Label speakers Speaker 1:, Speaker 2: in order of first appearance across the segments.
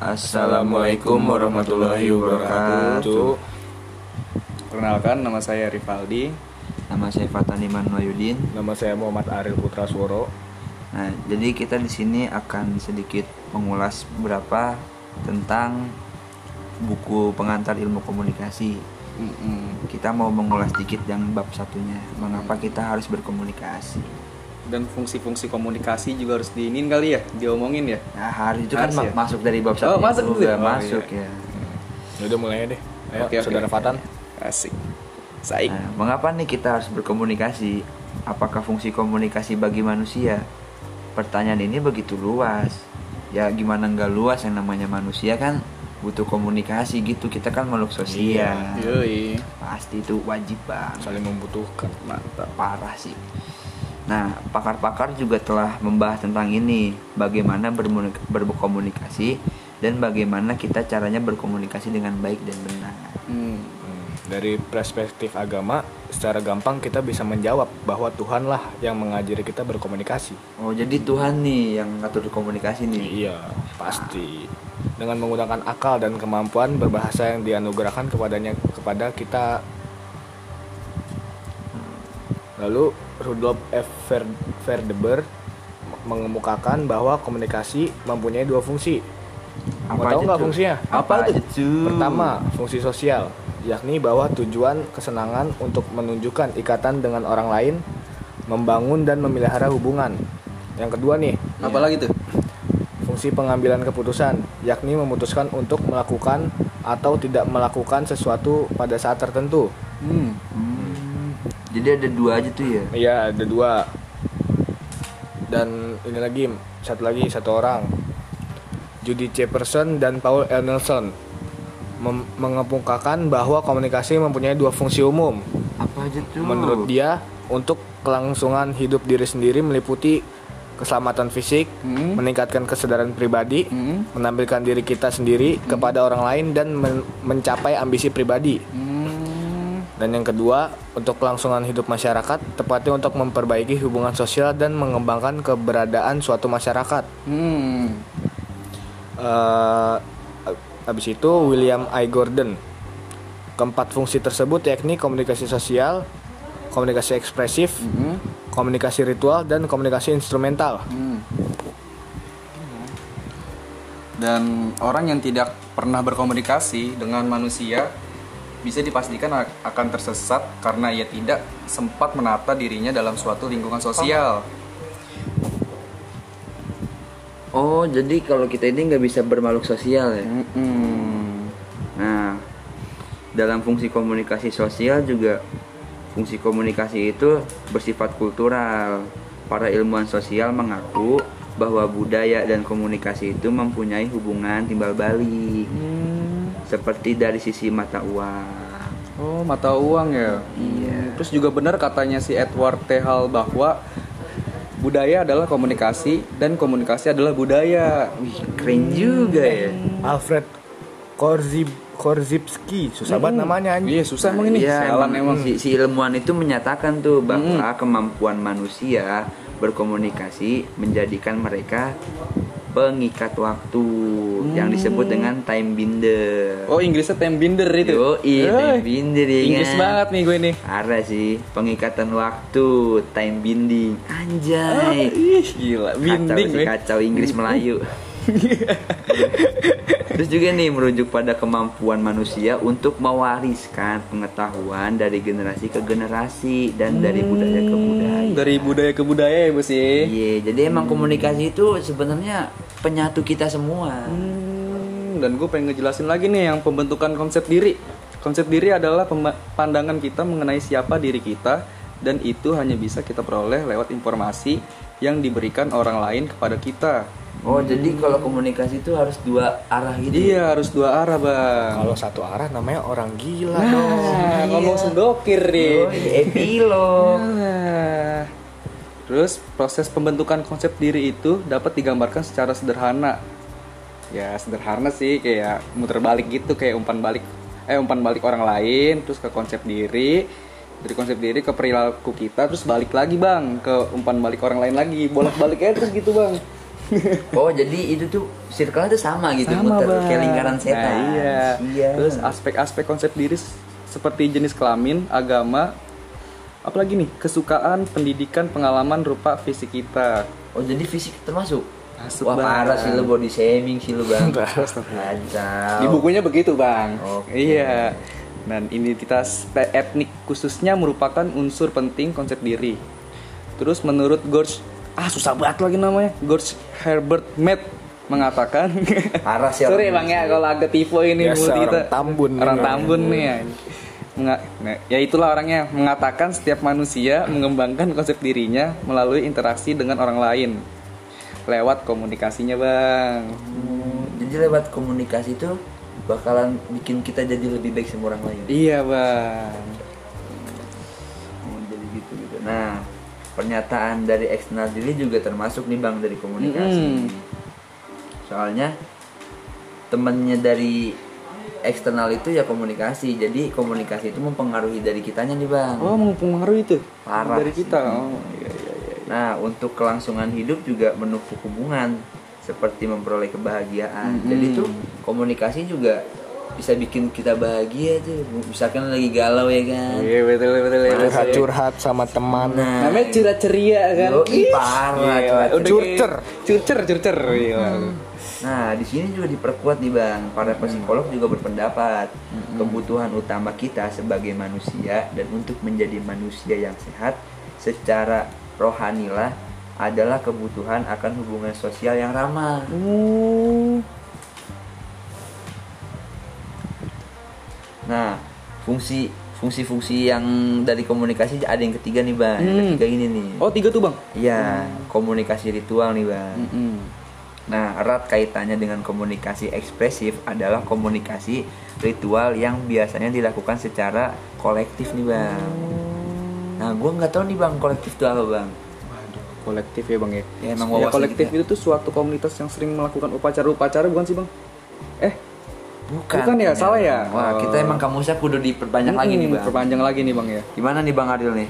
Speaker 1: Assalamualaikum warahmatullahi wabarakatuh.
Speaker 2: Perkenalkan nama saya Rivaldi.
Speaker 1: Nama saya Fatani Manuayudin.
Speaker 3: Nama saya Muhammad Aril Putra Suworo.
Speaker 1: Nah, jadi kita di sini akan sedikit mengulas beberapa tentang buku pengantar ilmu komunikasi.
Speaker 2: Mm-mm.
Speaker 1: Kita mau mengulas dikit yang bab satunya, mengapa kita harus berkomunikasi.
Speaker 2: Dan fungsi-fungsi komunikasi juga harus diinin kali ya, diomongin ya.
Speaker 1: Nah, hari itu kan
Speaker 2: Harus
Speaker 1: ma-
Speaker 2: ya?
Speaker 1: masuk dari bab satu
Speaker 2: Oh, masuk
Speaker 1: itu,
Speaker 2: itu ya?
Speaker 1: udah
Speaker 2: Oh,
Speaker 1: masuk
Speaker 2: iya.
Speaker 1: ya.
Speaker 3: Ya udah mulai deh. Ayo,
Speaker 2: Oke, oke,
Speaker 3: saudara
Speaker 2: oke.
Speaker 3: Fatan.
Speaker 2: Asik. Saik.
Speaker 1: Nah, mengapa nih kita harus berkomunikasi? Apakah fungsi komunikasi bagi manusia? Pertanyaan ini begitu luas. Ya gimana nggak luas yang namanya manusia kan butuh komunikasi gitu. Kita kan makhluk sosial.
Speaker 2: Yoi.
Speaker 1: Pasti itu wajib banget.
Speaker 3: Saling membutuhkan.
Speaker 2: Mantap.
Speaker 1: Parah sih. Nah, pakar-pakar juga telah membahas tentang ini, bagaimana bermuni- berkomunikasi dan bagaimana kita caranya berkomunikasi dengan baik dan benar.
Speaker 2: Hmm.
Speaker 3: Hmm, Dari perspektif agama, secara gampang kita bisa menjawab bahwa Tuhanlah yang mengajari kita berkomunikasi.
Speaker 1: Oh, jadi Tuhan nih yang ngatur komunikasi nih.
Speaker 3: Iya, pasti. Dengan menggunakan akal dan kemampuan berbahasa yang dianugerahkan kepadanya kepada kita. Hmm, Lalu Rudolf F. Ver- Verdeber mengemukakan bahwa komunikasi mempunyai dua fungsi. Mau
Speaker 1: aja
Speaker 3: tahu nggak
Speaker 1: tuh?
Speaker 3: fungsinya?
Speaker 1: Apa, aja tuh?
Speaker 3: Pertama, fungsi sosial, yakni bahwa tujuan kesenangan untuk menunjukkan ikatan dengan orang lain, membangun dan memelihara hubungan. Yang kedua nih,
Speaker 2: Apalagi tuh?
Speaker 3: fungsi pengambilan keputusan, yakni memutuskan untuk melakukan atau tidak melakukan sesuatu pada saat tertentu.
Speaker 2: Hmm.
Speaker 1: Hmm, Jadi ada dua aja tuh ya.
Speaker 3: Iya, ada dua. Dan ini lagi, satu lagi, satu orang. Judy Jefferson dan Paul L. Nelson mem- mengemukakan bahwa komunikasi mempunyai dua fungsi umum.
Speaker 1: Apa aja tuh?
Speaker 3: Menurut dia, untuk kelangsungan hidup diri sendiri meliputi keselamatan fisik,
Speaker 2: Hmm.
Speaker 3: meningkatkan kesadaran pribadi,
Speaker 2: Hmm.
Speaker 3: menampilkan diri kita sendiri kepada orang lain dan men- mencapai ambisi pribadi.
Speaker 2: Hmm.
Speaker 3: Dan yang kedua, untuk kelangsungan hidup masyarakat, tepatnya untuk memperbaiki hubungan sosial dan mengembangkan keberadaan suatu masyarakat.
Speaker 2: Hmm.
Speaker 3: Eh, habis itu William I. Gordon. Keempat fungsi tersebut yakni komunikasi sosial, komunikasi ekspresif,
Speaker 2: Hmm.
Speaker 3: komunikasi ritual dan komunikasi instrumental.
Speaker 2: Hmm. Dan orang yang tidak pernah berkomunikasi dengan manusia bisa dipastikan ak- akan tersesat karena ia tidak sempat menata dirinya dalam suatu lingkungan sosial.
Speaker 1: Oh, jadi kalau kita ini nggak bisa bermakhluk sosial ya.
Speaker 2: Mm-mm.
Speaker 1: Nah, dalam fungsi komunikasi sosial juga fungsi komunikasi itu bersifat kultural. Para ilmuwan sosial mengaku bahwa budaya dan komunikasi itu mempunyai hubungan timbal balik Hmm. seperti dari sisi mata uang.
Speaker 2: Oh, mata uang ya.
Speaker 1: Iya.
Speaker 2: Terus juga benar katanya si Edward T. Hall bahwa budaya adalah komunikasi dan komunikasi adalah budaya.
Speaker 1: Wih, keren juga ya.
Speaker 3: Alfred Korzib Korzybski, susah banget namanya anjing.
Speaker 2: Iya, susah emang ini.
Speaker 1: Iya,
Speaker 2: Sialan emang.
Speaker 1: Si, si ilmuwan itu menyatakan tuh bahwa kemampuan manusia berkomunikasi menjadikan mereka pengikat waktu yang disebut dengan time binder.
Speaker 2: Oh, Inggrisnya time binder itu.
Speaker 1: Yoi, time
Speaker 2: Eh,
Speaker 1: binder ya
Speaker 2: Inggris
Speaker 1: kan?
Speaker 2: banget nih gue nih.
Speaker 1: Ada sih pengikatan waktu, time binding. Anjay.
Speaker 2: Ih, Oh, gila, binding
Speaker 1: kacau, sih,
Speaker 2: nih.
Speaker 1: kacau Inggris Melayu. Terus juga nih merujuk pada kemampuan manusia untuk mewariskan pengetahuan dari generasi ke generasi dan dari
Speaker 2: Hmm.
Speaker 1: budaya ke budaya.
Speaker 2: Dari budaya ke budaya ya, Bu
Speaker 1: Iya,
Speaker 2: sih.
Speaker 1: jadi emang
Speaker 2: Hmm.
Speaker 1: komunikasi itu sebenarnya penyatu kita semua.
Speaker 2: Hmm, dan gue pengen ngejelasin lagi nih yang pembentukan konsep diri. Konsep diri adalah pema- pandangan kita mengenai siapa diri kita dan itu hanya bisa kita peroleh lewat informasi yang diberikan orang lain kepada kita.
Speaker 1: Oh, jadi kalau komunikasi itu harus dua arah gitu.
Speaker 2: Iya, harus dua arah, Bang.
Speaker 3: Kalau satu arah namanya orang gila dong.
Speaker 2: Nah, ngomong
Speaker 1: Iya.
Speaker 2: sendokir nih.
Speaker 1: Oh, epilog.
Speaker 2: Nah. Terus proses pembentukan konsep diri itu dapat digambarkan secara sederhana. Ya sederhana sih kayak muter balik gitu kayak umpan balik eh umpan balik orang lain terus ke konsep diri dari konsep diri ke perilaku kita terus balik lagi bang ke umpan balik orang lain lagi bolak balik aja terus gitu bang
Speaker 1: Oh jadi itu tuh circle-nya tuh sama gitu muter
Speaker 2: Bang.
Speaker 1: kayak lingkaran setan.
Speaker 2: Nah, iya.
Speaker 1: Iya.
Speaker 2: Terus aspek-aspek konsep diri s- seperti jenis kelamin, agama, apalagi nih kesukaan, pendidikan, pengalaman, rupa fisik kita.
Speaker 1: Oh jadi fisik termasuk?
Speaker 2: Masuk,
Speaker 1: Wah
Speaker 2: Bang.
Speaker 1: parah sih lu body shaming sih lu bang.
Speaker 2: Astagfirullah. Di
Speaker 1: Kacau.
Speaker 2: bukunya begitu, Bang.
Speaker 1: Oke.
Speaker 2: Iya. Dan identitas pe- etnik khususnya merupakan unsur penting konsep diri. Terus menurut George ah susah banget lagi namanya George Herbert Mead mengatakan
Speaker 1: Parah sih
Speaker 2: sorry
Speaker 1: orang
Speaker 2: bang ya
Speaker 1: Indonesia.
Speaker 2: kalau agak tifo ini
Speaker 3: Biasa,
Speaker 2: mulut kita
Speaker 3: orang Tambun nih,
Speaker 2: orang
Speaker 3: Bang. Iya.
Speaker 2: Tambun nih ya. Menga- nah, ya itulah orangnya mengatakan setiap manusia mengembangkan konsep dirinya melalui interaksi dengan orang lain lewat komunikasinya bang
Speaker 1: Hmm, Jadi lewat komunikasi itu bakalan bikin kita jadi lebih baik sama orang lain.
Speaker 2: Iya bang.
Speaker 1: Oh, jadi gitu gitu. Nah pernyataan dari eksternal diri juga termasuk nih bang dari komunikasi.
Speaker 2: Mm-mm.
Speaker 1: Soalnya temennya dari eksternal itu ya komunikasi. Jadi komunikasi itu mempengaruhi dari kitanya nih bang.
Speaker 2: Oh mempengaruhi itu
Speaker 1: Parah
Speaker 2: dari
Speaker 1: sih.
Speaker 2: kita. Oh, iya, iya, iya.
Speaker 1: Nah, untuk kelangsungan hidup juga menumpuk hubungan seperti memperoleh kebahagiaan.
Speaker 2: Mm-mm.
Speaker 1: Jadi tuh komunikasi juga bisa bikin kita bahagia tuh. Misalkan lagi galau ya kan.
Speaker 2: Iya betul betul betul.
Speaker 3: curhat curhat sama teman
Speaker 1: Nah,
Speaker 2: Namanya curhat ceria kan.
Speaker 1: Yoi,
Speaker 2: Ih,
Speaker 1: parah,
Speaker 2: gila.
Speaker 1: curhat
Speaker 2: Udah
Speaker 3: Curcer.
Speaker 2: kayak- Curcer curcer. Iya.
Speaker 1: Nah, di sini juga diperkuat nih Bang. Para
Speaker 2: Hmm.
Speaker 1: psikolog juga berpendapat kebutuhan utama kita sebagai manusia dan untuk menjadi manusia yang sehat secara rohanilah adalah kebutuhan akan hubungan sosial yang ramah.
Speaker 2: Oh.
Speaker 1: Nah, fungsi fungsi-fungsi yang dari komunikasi ada yang ketiga nih bang, yang
Speaker 2: Hmm.
Speaker 1: ketiga ini nih.
Speaker 2: Oh Hmm, tiga tuh bang.
Speaker 1: Iya, komunikasi ritual nih bang.
Speaker 2: Mm-mm.
Speaker 1: Nah, erat kaitannya dengan komunikasi ekspresif adalah komunikasi ritual yang biasanya dilakukan secara kolektif nih bang. Nah, gua nggak tahu nih bang kolektif itu apa bang.
Speaker 2: Waduh kolektif ya bang ya.
Speaker 1: Ya, emang
Speaker 2: Ya,
Speaker 1: wawasan
Speaker 2: kolektif
Speaker 1: kita.
Speaker 2: itu tuh suatu komunitas yang sering melakukan upacara-upacara bukan sih bang? Eh
Speaker 1: Bukan.
Speaker 2: Bukan
Speaker 1: ternyata.
Speaker 2: ya, salah ya?
Speaker 1: Wah, kita
Speaker 2: Oh.
Speaker 1: emang kamusnya kudu diperbanyak lagi nih
Speaker 2: mm,
Speaker 1: bang.
Speaker 2: Perpanjang lagi nih bang ya.
Speaker 1: Gimana nih bang Adil nih?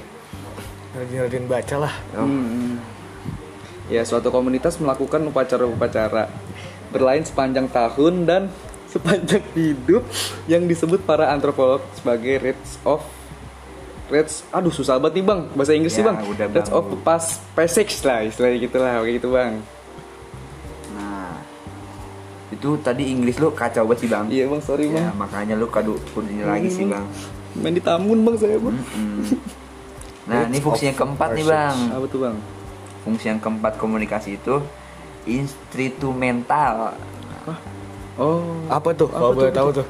Speaker 3: rajin-rajin baca lah
Speaker 1: Oh.
Speaker 2: Hmm. Ya, suatu komunitas melakukan upacara-upacara berlain sepanjang tahun dan sepanjang hidup yang disebut para antropolog sebagai rites of rites aduh susah banget nih bang bahasa Inggris sih
Speaker 1: Ya,
Speaker 2: bang
Speaker 1: udah,
Speaker 2: rites
Speaker 1: Bang.
Speaker 2: of pas passage lah istilahnya gitulah kayak gitu bang
Speaker 1: Nah, itu tadi Inggris lu kacau banget sih bang.
Speaker 2: iya Hmm. bang sorry
Speaker 1: Ya,
Speaker 2: bang
Speaker 1: makanya lu kadu kudunya lagi sih bang.
Speaker 2: main di tamun bang saya bang
Speaker 1: Mm-mm. Nah, ini fungsi yang keempat nih bang.
Speaker 2: apa tuh bang
Speaker 1: Fungsi yang keempat komunikasi itu instrumental.
Speaker 2: oh
Speaker 3: apa tuh kalau boleh tahu tuh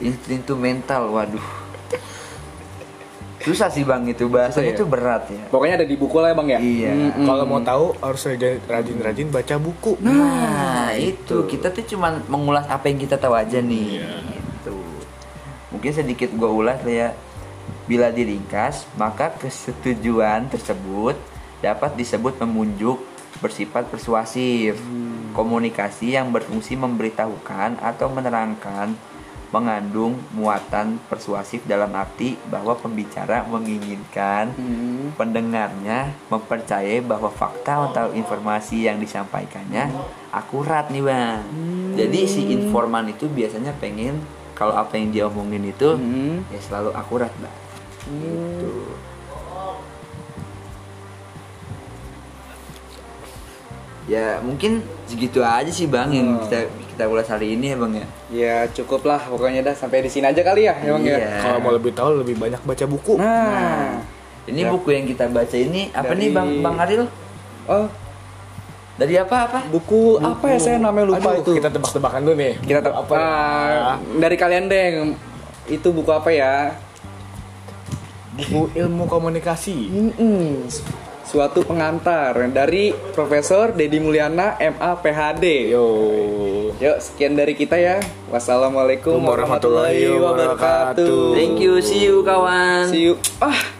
Speaker 1: Instrumental, waduh. Susah sih bang itu bahasanya
Speaker 2: Susah ya?
Speaker 1: itu berat ya.
Speaker 2: pokoknya ada di buku lah ya bang ya
Speaker 1: Iya.
Speaker 2: Mm-mm.
Speaker 3: kalau mau tahu harus rajin- rajin-rajin baca buku
Speaker 1: Nah, itu kita tuh cuman mengulas apa yang kita tahu aja nih. Gitu. Mungkin sedikit gua ulas lah ya. Bila diringkas, maka kesetujuan tersebut dapat disebut memunjuk bersifat persuasif. Komunikasi yang berfungsi memberitahukan atau menerangkan mengandung muatan persuasif dalam arti bahwa pembicara menginginkan
Speaker 2: Mm.
Speaker 1: pendengarnya mempercayai bahwa fakta atau informasi yang disampaikannya akurat nih bang. Jadi si informan itu biasanya pengen kalau apa yang dia omongin itu
Speaker 2: Hmm.
Speaker 1: ya selalu akurat bang. Gitu. Ya mungkin segitu aja sih bang yang kita kita ulas hari ini ya bang ya.
Speaker 2: Ya cukup lah pokoknya dah sampai di sini aja kali ya emang ya.
Speaker 1: Iya.
Speaker 3: kalau mau lebih tahu lebih banyak baca buku
Speaker 2: Nah,
Speaker 1: Ini buku yang kita baca ini apa nih
Speaker 2: Dari-
Speaker 1: bang Bang Aril?
Speaker 2: oh
Speaker 1: Dari apa apa?
Speaker 2: buku, apa ya saya namanya lupa
Speaker 3: Aduh,
Speaker 2: itu.
Speaker 3: kita tebak-tebakan dulu nih
Speaker 2: Kita Ah.
Speaker 3: Buku
Speaker 2: tak
Speaker 3: apa ya?
Speaker 2: dari kalian deh yang- itu buku apa ya?
Speaker 3: buku ilmu komunikasi
Speaker 2: Mm-mm. Suatu pengantar dari Profesor Dedi Mulyana MA PhD.
Speaker 3: yo
Speaker 2: Yuk sekian dari kita ya. Wassalamualaikum
Speaker 3: Warahmatullahi
Speaker 2: warahmatullahi wabarakatuh.
Speaker 3: wabarakatuh.
Speaker 1: Thank you, see you kawan.
Speaker 2: See you. Ah.